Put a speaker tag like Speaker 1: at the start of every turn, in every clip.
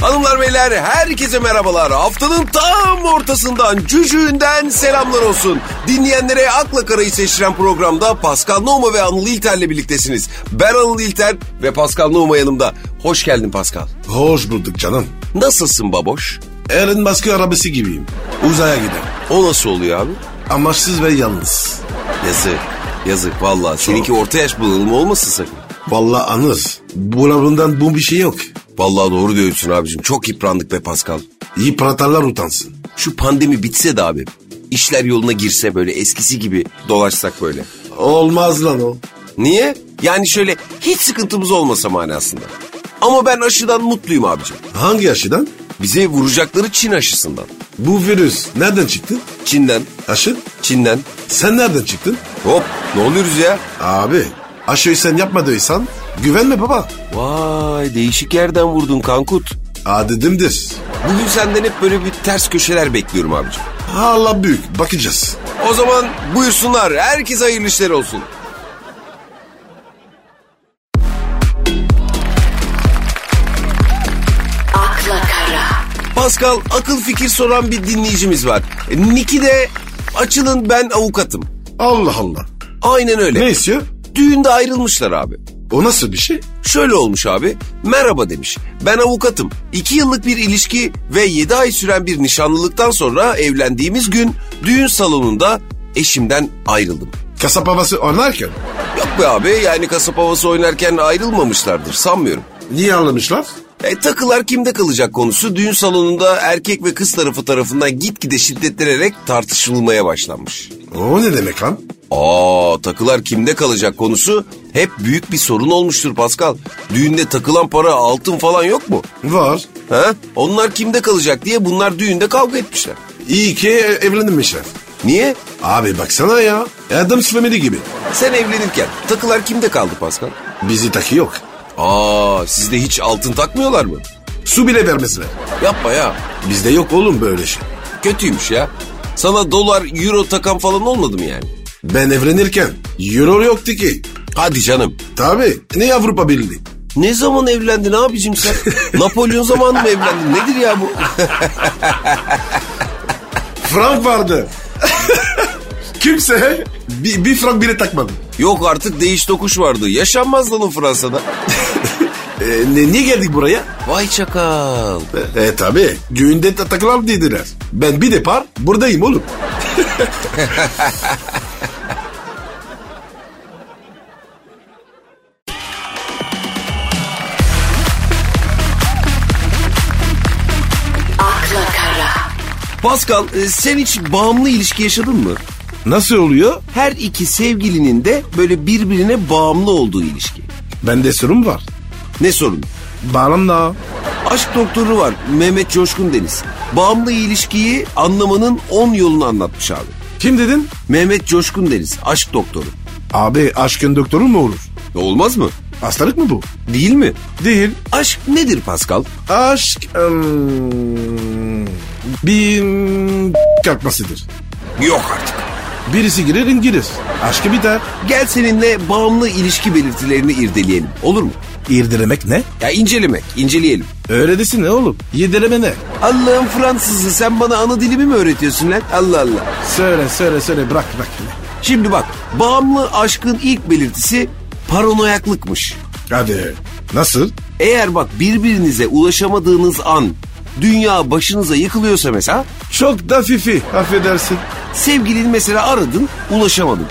Speaker 1: Hanımlar beyler herkese merhabalar. Haftanın tam ortasından cücüğünden selamlar olsun. Dinleyenlere akla karayı seçilen programda Pascal Numa ve Anıl İlter'le birliktesiniz. Ben Anıl İlter ve Pascal Numa yanımda. Hoş geldin Pascal.
Speaker 2: Hoş bulduk canım.
Speaker 1: Nasılsın baboş?
Speaker 2: Elon Musk'ın arabası gibiyim. Uzaya gider.
Speaker 1: O nasıl oluyor abi?
Speaker 2: Amaçsız ve yalnız.
Speaker 1: Yazık. Yazık valla. Seninki orta yaş bunalımı olmasın sakın.
Speaker 2: Vallahi anız. Buralarından bu bir şey yok.
Speaker 1: Vallahi doğru diyorsun abicim. Çok yıprandık be Pascal.
Speaker 2: İyi pratarlar utansın.
Speaker 1: Şu pandemi bitse de abi. işler yoluna girse böyle eskisi gibi dolaşsak böyle.
Speaker 2: Olmaz lan o.
Speaker 1: Niye? Yani şöyle hiç sıkıntımız olmasa manasında. Ama ben aşıdan mutluyum abicim.
Speaker 2: Hangi aşıdan?
Speaker 1: Bize vuracakları Çin aşısından.
Speaker 2: Bu virüs nereden çıktı?
Speaker 1: Çin'den,
Speaker 2: Aşı?
Speaker 1: Çin'den.
Speaker 2: Sen nereden çıktın?
Speaker 1: Hop ne oluyoruz ya?
Speaker 2: Abi aşıyı sen yapmadıysan güvenme baba.
Speaker 1: Vay değişik yerden vurdun Kankut.
Speaker 2: Adedimdir.
Speaker 1: Bugün senden hep böyle bir ters köşeler bekliyorum abicim.
Speaker 2: Allah büyük bakacağız.
Speaker 1: O zaman buyursunlar. Herkese hayırlı işler olsun.
Speaker 3: akla kara,
Speaker 1: Pascal akıl fikir soran bir dinleyicimiz var. Niki de açılın ben avukatım.
Speaker 2: Allah Allah.
Speaker 1: Aynen öyle.
Speaker 2: Ne istiyor?
Speaker 1: Düğünde ayrılmışlar abi.
Speaker 2: O nasıl bir şey?
Speaker 1: Şöyle olmuş abi. Merhaba demiş. Ben avukatım. İki yıllık bir ilişki ve yedi ay süren bir nişanlılıktan sonra evlendiğimiz gün düğün salonunda eşimden ayrıldım.
Speaker 2: Kasap havası oynarken.
Speaker 1: Yok be abi yani kasap havası oynarken ayrılmamışlardır sanmıyorum.
Speaker 2: Niye anlamışlar?
Speaker 1: E, takılar kimde kalacak konusu düğün salonunda erkek ve kız tarafı tarafından gitgide şiddetlenerek tartışılmaya başlanmış.
Speaker 2: O ne demek lan?
Speaker 1: Aa takılar kimde kalacak konusu hep büyük bir sorun olmuştur Pascal. Düğünde takılan para altın falan yok mu?
Speaker 2: Var.
Speaker 1: Ha? Onlar kimde kalacak diye bunlar düğünde kavga etmişler.
Speaker 2: İyi ki ev- evlenmişler.
Speaker 1: Niye?
Speaker 2: Abi baksana ya. Adams Family gibi.
Speaker 1: Sen evlenirken takılar kimde kaldı Pascal?
Speaker 2: Bizi takı yok.
Speaker 1: Aa sizde hiç altın takmıyorlar mı?
Speaker 2: Su bile vermezler.
Speaker 1: Yapma ya.
Speaker 2: Bizde yok oğlum böyle şey.
Speaker 1: Kötüymüş ya. Sana dolar, euro takan falan olmadı mı yani?
Speaker 2: Ben evlenirken euro yoktu ki.
Speaker 1: Hadi canım.
Speaker 2: Tabii. Ne Avrupa Birliği?
Speaker 1: Ne zaman evlendin abicim sen? Napolyon zamanı mı evlendin? Nedir ya bu?
Speaker 2: Frank vardı. Kimse bir, bir frank bile takmadı.
Speaker 1: Yok artık değiş tokuş vardı. Yaşanmaz lan o Fransa'da.
Speaker 2: E, ne, niye geldik buraya?
Speaker 1: Vay çakal.
Speaker 2: E, e tabi. Düğünde ta- takılan dediler. Ben bir depar buradayım oğlum.
Speaker 3: akla kara,
Speaker 1: Pascal e, sen hiç bağımlı ilişki yaşadın mı?
Speaker 2: Nasıl oluyor?
Speaker 1: Her iki sevgilinin de böyle birbirine bağımlı olduğu ilişki.
Speaker 2: Bende sorun var.
Speaker 1: Ne sorun?
Speaker 2: Bağlamla.
Speaker 1: Aşk doktoru var Mehmet Coşkun Deniz. Bağımlı ilişkiyi anlamanın 10 yolunu anlatmış abi.
Speaker 2: Kim dedin?
Speaker 1: Mehmet Coşkun Deniz aşk doktoru. E,
Speaker 2: Abi aşkın doktoru mu olur?
Speaker 1: Olmaz mı?
Speaker 2: Hastalık mı bu?
Speaker 1: Değil mi?
Speaker 2: Değil.
Speaker 1: Aşk nedir Pascal?
Speaker 2: Aşk ım, bir ım, kalkmasıdır.
Speaker 1: Yok artık.
Speaker 2: Birisi girer ingilir. Aşkı biter.
Speaker 1: Gel seninle bağımlı ilişki belirtilerini irdeleyelim. Olur mu?
Speaker 2: İrdelemek ne?
Speaker 1: Ya incelemek, inceleyelim.
Speaker 2: Öyle desin ne oğlum? Yedireme ne?
Speaker 1: Allah'ın Fransızı sen bana ana dilimi mi öğretiyorsun lan? Allah Allah.
Speaker 2: Söyle söyle söyle bırak bırak.
Speaker 1: Şimdi bak bağımlı aşkın ilk belirtisi paranoyaklıkmış.
Speaker 2: Hadi. Nasıl?
Speaker 1: Eğer bak birbirinize ulaşamadığınız an dünya başınıza yıkılıyorsa mesela
Speaker 2: Çok da fifi. Affedersin.
Speaker 1: sevgilini mesela aradın ulaşamadın.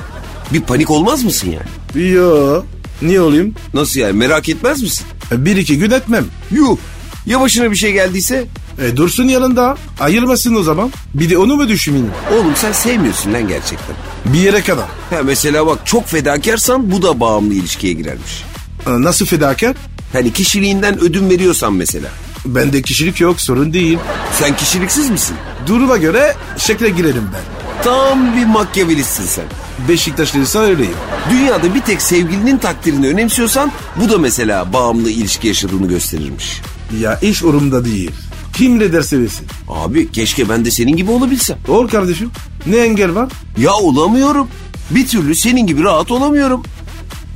Speaker 1: Bir panik olmaz mısın yani?
Speaker 2: Yo. Niye olayım?
Speaker 1: Nasıl yani merak etmez misin?
Speaker 2: Bir iki gün etmem.
Speaker 1: Yuh ya başına bir şey geldiyse?
Speaker 2: E, dursun yanında. Ayırmasın o zaman. Bir de onu mu düşüneyim?
Speaker 1: Oğlum sen sevmiyorsun lan gerçekten.
Speaker 2: Bir yere kadar.
Speaker 1: Ha mesela bak çok fedakarsan bu da bağımlı ilişkiye girermiş.
Speaker 2: E, Nasıl fedakar?
Speaker 1: Hani kişiliğinden ödün veriyorsan mesela.
Speaker 2: Bende kişilik yok sorun değil.
Speaker 1: Sen kişiliksiz misin?
Speaker 2: Duruma göre şekle girerim ben.
Speaker 1: Tam bir makyavelistsin sen.
Speaker 2: Beşiktaşlıysa öyleyim.
Speaker 1: Dünyada bir tek sevgilinin takdirini önemsiyorsan bu da mesela bağımlı ilişki yaşadığını gösterirmiş.
Speaker 2: Ya iş urumda değil. Kim ne derse desin.
Speaker 1: Abi keşke ben de senin gibi olabilsem.
Speaker 2: Ol kardeşim. Ne engel var?
Speaker 1: Ya olamıyorum. Bir türlü senin gibi rahat olamıyorum.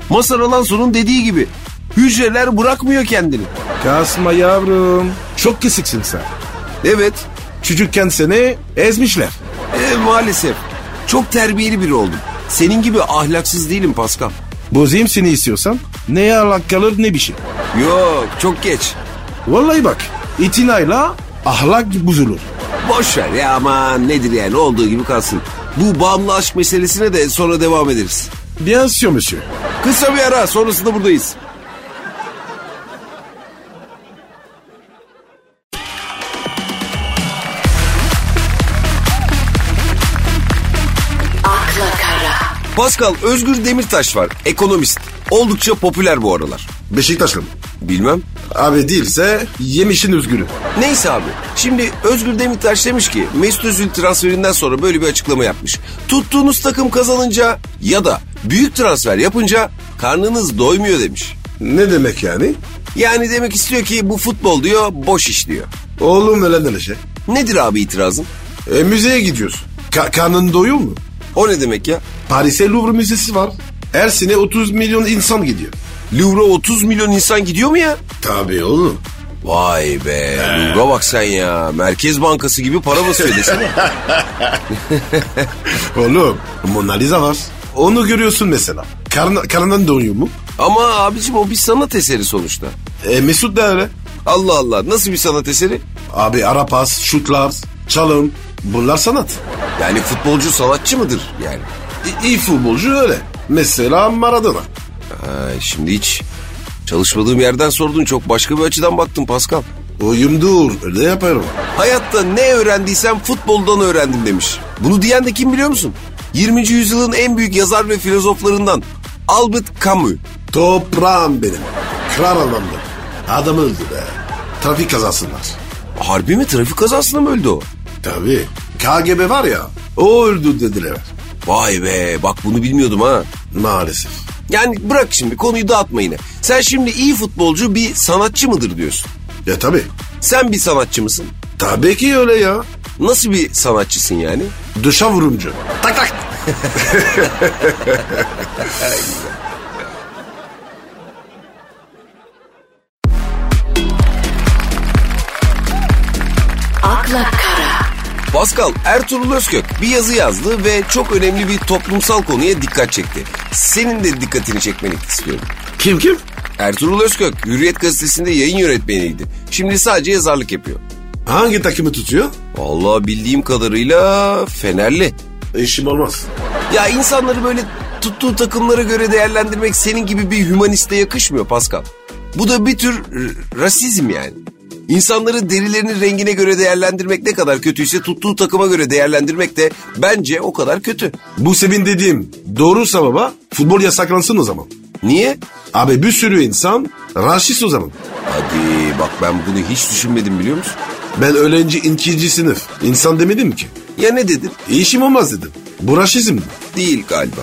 Speaker 1: Masar Alanso'nun dediği gibi hücreler bırakmıyor kendini.
Speaker 2: Kasma yavrum. Çok kesiksin sen.
Speaker 1: Evet.
Speaker 2: Çocukken seni ezmişler.
Speaker 1: E, maalesef. Çok terbiyeli biri oldum. Senin gibi ahlaksız değilim Pascal.
Speaker 2: Bozayım seni istiyorsan neye alakalı ne bir şey.
Speaker 1: Yok çok geç.
Speaker 2: Vallahi bak itinayla ahlak bozulur.
Speaker 1: Boş ver ya aman nedir yani olduğu gibi kalsın. Bu bağımlı aşk meselesine de sonra devam ederiz.
Speaker 2: Bien sûr monsieur.
Speaker 1: Kısa bir ara sonrasında buradayız.
Speaker 3: akla kara,
Speaker 1: Pascal Özgür Demirtaş var. Ekonomist. Oldukça popüler bu aralar.
Speaker 2: Beşiktaşlı mı?
Speaker 1: Bilmem.
Speaker 2: Abi değilse yemişin özgürü.
Speaker 1: Neyse abi. Şimdi Özgür Demirtaş demiş ki Mesut Özil transferinden sonra böyle bir açıklama yapmış. Tuttuğunuz takım kazanınca ya da büyük transfer yapınca karnınız doymuyor demiş.
Speaker 2: Ne demek yani?
Speaker 1: Yani demek istiyor ki bu futbol diyor boş iş diyor.
Speaker 2: Oğlum öyle öyle şey.
Speaker 1: Nedir abi itirazın?
Speaker 2: E, müzeye gidiyorsun. Ka- karnın doyuyor mu?
Speaker 1: O ne demek ya?
Speaker 2: Paris'e Louvre Müzesi var. Her sene 30 milyon insan gidiyor.
Speaker 1: Louvre'a 30 milyon insan gidiyor mu ya?
Speaker 2: Tabii oğlum.
Speaker 1: Vay be Louvre'a bak sen ya. Merkez Bankası gibi para basıyor desene.
Speaker 2: Oğlum Mona Lisa var. Onu görüyorsun mesela. Karn- karnından doyuyor mu?
Speaker 1: Ama abicim o bir sanat eseri sonuçta.
Speaker 2: E, Mesut da öyle.
Speaker 1: Allah Allah nasıl bir sanat eseri?
Speaker 2: Abi ara pas, şutlar, çalım. Bunlar sanat.
Speaker 1: Yani futbolcu sanatçı mıdır yani?
Speaker 2: İ- iyi futbolcu öyle. Mesela Maradona.
Speaker 1: Ha, şimdi hiç çalışmadığım yerden sordun çok başka bir açıdan baktım Pascal.
Speaker 2: Oyumdur öyle yaparım.
Speaker 1: Hayatta ne öğrendiysem futboldan öğrendim demiş. Bunu diyen de kim biliyor musun? 20. yüzyılın en büyük yazar ve filozoflarından Albert Camus.
Speaker 2: Toprağım benim. Kral adamdı. Adam öldü be. Trafik kazasınlar.
Speaker 1: Harbi mi trafik kazasında mı öldü o?
Speaker 2: Tabii. KGB var ya. O öldü dediler.
Speaker 1: Vay be bak bunu bilmiyordum ha.
Speaker 2: Maalesef.
Speaker 1: Yani bırak şimdi konuyu dağıtma yine. Sen şimdi iyi futbolcu bir sanatçı mıdır diyorsun.
Speaker 2: Ya tabii.
Speaker 1: Sen bir sanatçı mısın?
Speaker 2: Tabii ki öyle ya.
Speaker 1: Nasıl bir sanatçısın yani?
Speaker 2: Dışa vurumcu. Tak tak.
Speaker 3: akla kara,
Speaker 1: Pascal Ertuğrul Özkök bir yazı yazdı ve çok önemli bir toplumsal konuya dikkat çekti. Senin de dikkatini çekmeni istiyorum.
Speaker 2: Kim kim?
Speaker 1: Ertuğrul Özkök Hürriyet gazetesinde yayın yönetmeniydi. Şimdi sadece yazarlık yapıyor.
Speaker 2: Hangi takımı tutuyor?
Speaker 1: Vallahi bildiğim kadarıyla Fenerli.
Speaker 2: İşim E, olmaz.
Speaker 1: Ya insanları böyle tuttuğu takımlara göre değerlendirmek senin gibi bir hümaniste yakışmıyor Pascal. Bu da bir tür r- rasizm yani. İnsanları derilerinin rengine göre değerlendirmek ne kadar kötüyse tuttuğu takıma göre değerlendirmek de bence o kadar kötü.
Speaker 2: Bu sevin dediğim doğruysa baba futbol yasaklansın o zaman.
Speaker 1: Niye?
Speaker 2: Abi bir sürü insan raşist o zaman.
Speaker 1: Hadi bak ben bunu hiç düşünmedim biliyor musun?
Speaker 2: Ben öğrenci ikinci sınıf. İnsan demedim ki.
Speaker 1: Ya ne dedim?
Speaker 2: İşim olmaz dedim. Bu raşizm.
Speaker 1: Değil galiba.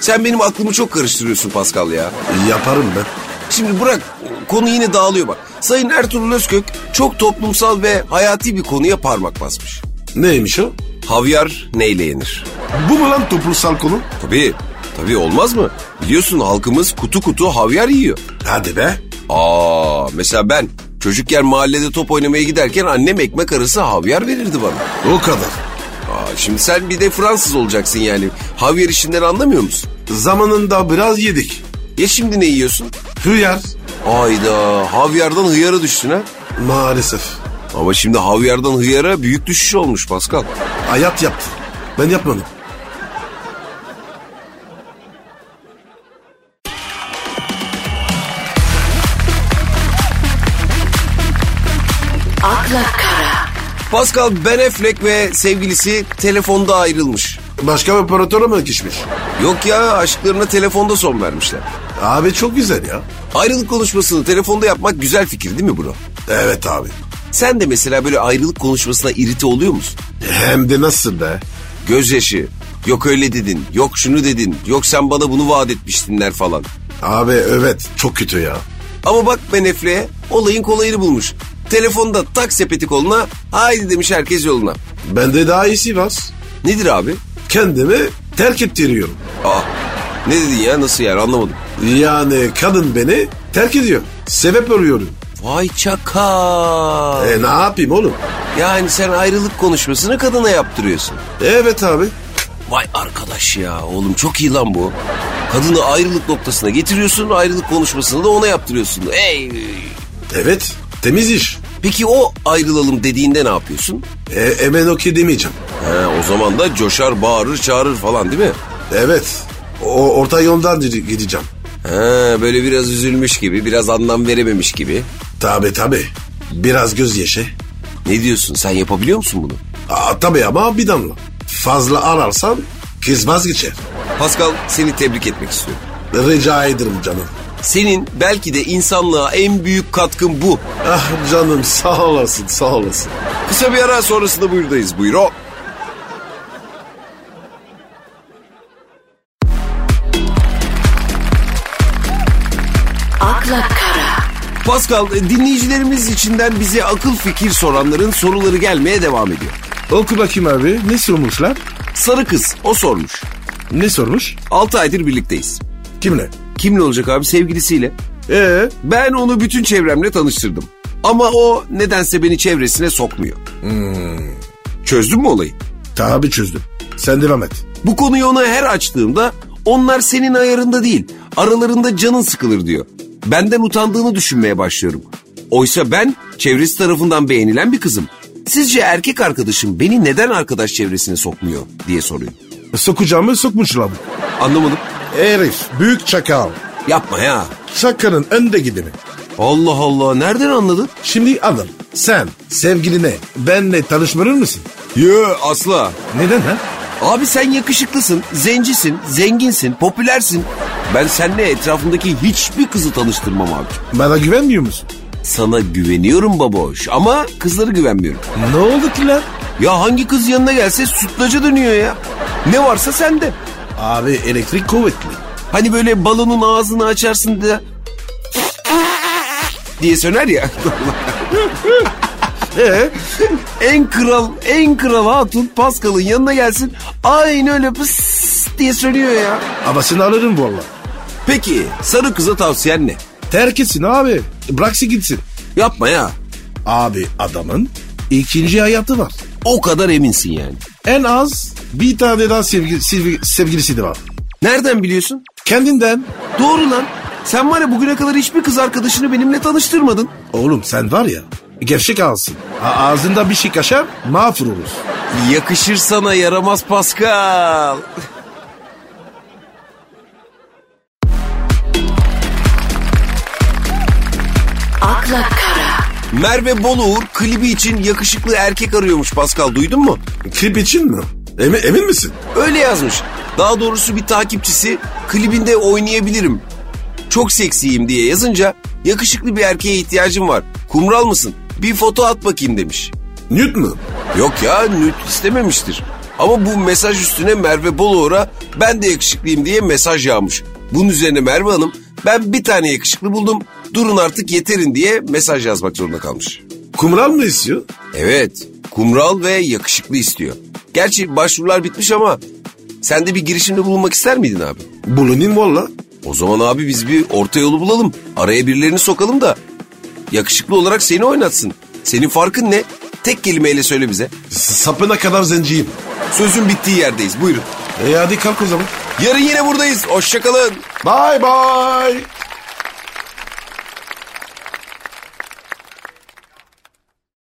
Speaker 1: Sen benim aklımı çok karıştırıyorsun Pascal ya.
Speaker 2: E, Yaparım ben.
Speaker 1: Şimdi bırak konu yine dağılıyor bak. Sayın Ertuğrul Özkök çok toplumsal ve hayati bir konuya parmak basmış.
Speaker 2: Neymiş o?
Speaker 1: Havyar neyle yenir?
Speaker 2: Bu mu lan toplumsal konu?
Speaker 1: Tabii, tabii olmaz mı? Biliyorsun halkımız kutu kutu havyar yiyor.
Speaker 2: Hadi be.
Speaker 1: Aa, mesela ben çocukken mahallede top oynamaya giderken annem ekmek arası havyar verirdi bana.
Speaker 2: O kadar.
Speaker 1: Aa, şimdi sen bir de Fransız olacaksın yani. Havyar işinden anlamıyor musun?
Speaker 2: Zamanında biraz yedik.
Speaker 1: Ya şimdi ne yiyorsun?
Speaker 2: Hıyar.
Speaker 1: Ayda havyardan hıyara düştün ha.
Speaker 2: Maalesef.
Speaker 1: Ama şimdi havyardan hıyara büyük düşüş olmuş Pascal.
Speaker 2: Hayat yaptı. Ben yapmadım.
Speaker 3: akla kara,
Speaker 1: Pascal Ben Affleck ve sevgilisi telefonda ayrılmış.
Speaker 2: Başka bir operatöre mi geçmiş?
Speaker 1: Yok ya aşklarına telefonda son vermişler.
Speaker 2: Abi çok güzel ya.
Speaker 1: Ayrılık konuşmasını telefonda yapmak güzel fikir değil mi bro?
Speaker 2: Evet abi.
Speaker 1: Sen de mesela böyle ayrılık konuşmasına irite oluyor musun?
Speaker 2: Hem de nasıl be?
Speaker 1: Gözyaşı, yok öyle dedin, yok şunu dedin, yok sen bana bunu vaat etmiştinler falan.
Speaker 2: Abi evet çok kötü ya.
Speaker 1: Ama bak Ben Affleck'e olayın kolayını bulmuş. Telefonda tak sepeti koluna, haydi demiş herkes yoluna.
Speaker 2: Bende daha iyisi var.
Speaker 1: Nedir abi? Ah,
Speaker 2: Kendimi terk ettiriyorum.
Speaker 1: Aa, ne dedin ya nasıl yani anlamadım.
Speaker 2: Yani kadın beni terk ediyor. Sebep arıyorum.
Speaker 1: Vay çakal.
Speaker 2: E ne yapayım oğlum?
Speaker 1: Yani sen ayrılık konuşmasını kadına yaptırıyorsun.
Speaker 2: Evet abi.
Speaker 1: Vay arkadaş ya oğlum çok iyi lan bu. Kadını ayrılık noktasına getiriyorsun ayrılık konuşmasını da ona yaptırıyorsun. Ey.
Speaker 2: Evet. Temiz iş.
Speaker 1: Peki o ayrılalım dediğinde ne yapıyorsun?
Speaker 2: E, hemen okey demeyeceğim.
Speaker 1: He, o zaman da coşar bağırır çağırır falan değil mi?
Speaker 2: Evet. O, orta yoldan gide- gideceğim.
Speaker 1: He, böyle biraz üzülmüş gibi biraz anlam verememiş gibi.
Speaker 2: Tabi tabi. Biraz gözyaşı.
Speaker 1: Ne diyorsun sen yapabiliyor musun bunu?
Speaker 2: Aa, tabi ama bir damla. Fazla ararsan kız vazgeçer.
Speaker 1: Pascal seni tebrik etmek istiyorum.
Speaker 2: Rica ederim canım.
Speaker 1: Senin belki de insanlığa en büyük katkın bu.
Speaker 2: Ah canım sağ olasın sağ olasın.
Speaker 1: Kısa bir ara sonrasında buyurdayız. Buyur o.
Speaker 3: akla kara,
Speaker 1: Pascal dinleyicilerimiz içinden bize akıl fikir soranların soruları gelmeye devam ediyor.
Speaker 4: Oku bakayım abi. Ne sormuşlar?
Speaker 1: Sarı kız o sormuş.
Speaker 4: Ne sormuş?
Speaker 1: 6 aydır birlikteyiz.
Speaker 4: Kimle?
Speaker 1: Kimle olacak abi sevgilisiyle?
Speaker 4: Ee,
Speaker 1: Ben onu bütün çevremle tanıştırdım. Ama o nedense beni çevresine sokmuyor. Çözdün mü olayı?
Speaker 4: tabi çözdüm. Sen devam et.
Speaker 1: Bu konuyu ona her açtığımda onlar senin ayarında değil. Aralarında canın sıkılır diyor. Benden utandığını düşünmeye başlıyorum. Oysa ben çevresi tarafından beğenilen bir kızım. Sizce erkek arkadaşım beni neden arkadaş çevresine sokmuyor diye soruyor.
Speaker 4: Sokacağımı sokmuşlar.
Speaker 1: Anlamadım.
Speaker 4: Herif büyük çakal.
Speaker 1: Yapma ya.
Speaker 4: Çakanın önde gideni.
Speaker 1: Allah Allah nereden anladın?
Speaker 4: Şimdi adam sen sevgiline benle tanışmanır mısın?
Speaker 1: Yo asla.
Speaker 4: Neden ha?
Speaker 1: Abi sen yakışıklısın, zencisin, zenginsin, popülersin. Ben seninle etrafımdaki hiçbir kızı tanıştırmam abi.
Speaker 4: Bana güvenmiyor musun?
Speaker 1: Sana güveniyorum baboş ama kızlara güvenmiyorum.
Speaker 4: Ne oldu ki lan?
Speaker 1: Ya hangi kız yanına gelse sütlaca dönüyor ya. Ne varsa sende.
Speaker 4: Abi elektrik kuvvetli.
Speaker 1: Hani böyle balonun ağzını açarsın da diye söner ya.
Speaker 4: Ee,
Speaker 1: en kral, en kral hatun Pascal'ın yanına gelsin. Aynı öyle pıs diye sönüyor ya.
Speaker 4: ama seni alırım valla.
Speaker 1: Peki sarı kıza tavsiyen ne?
Speaker 4: Terk etsin abi. Bıraksın gitsin.
Speaker 1: Yapma ya.
Speaker 4: Abi adamın ikinci hayatı var.
Speaker 1: O kadar eminsin yani.
Speaker 4: En az bir tane daha sevgi, sevgi- sevgilisi de var.
Speaker 1: Nereden biliyorsun?
Speaker 4: Kendinden.
Speaker 1: Doğru lan. Sen var ya bugüne kadar hiçbir kız arkadaşını benimle tanıştırmadın.
Speaker 4: Oğlum sen var ya gevşek ağzın. A- ağzında bir şey kaşar mağfur olur.
Speaker 1: Yakışır sana yaramaz Pascal.
Speaker 3: akla kara,
Speaker 1: Merve Boluğur klibi için yakışıklı erkek arıyormuş Pascal duydun mu?
Speaker 2: Klip için mi? Emin, emin misin?
Speaker 1: Öyle yazmış. Daha doğrusu bir takipçisi klibinde oynayabilirim. Çok seksiyim diye yazınca yakışıklı bir erkeğe ihtiyacım var. Kumral mısın? Bir foto at bakayım demiş.
Speaker 2: Newt mu?
Speaker 1: Yok ya nüt istememiştir. Ama bu mesaj üstüne Merve Boluğur'a ben de yakışıklıyım diye mesaj yağmış. Bunun üzerine Merve Hanım ben bir tane yakışıklı buldum durun artık yeterin diye mesaj yazmak zorunda kalmış.
Speaker 2: Kumral mı istiyor?
Speaker 1: Evet kumral ve yakışıklı istiyor. Gerçi başvurular bitmiş ama sen de bir girişimde bulunmak ister miydin abi?
Speaker 2: Bulunayım valla.
Speaker 1: O zaman abi biz bir orta yolu bulalım. Araya birilerini sokalım da yakışıklı olarak seni oynatsın. Senin farkın ne? Tek kelimeyle söyle bize.
Speaker 2: S- Sapına kadar zenciyim.
Speaker 1: Sözün bittiği yerdeyiz buyurun.
Speaker 2: E hadi kalk o zaman.
Speaker 1: Yarın yine buradayız. Hoşçakalın.
Speaker 2: Bye bye.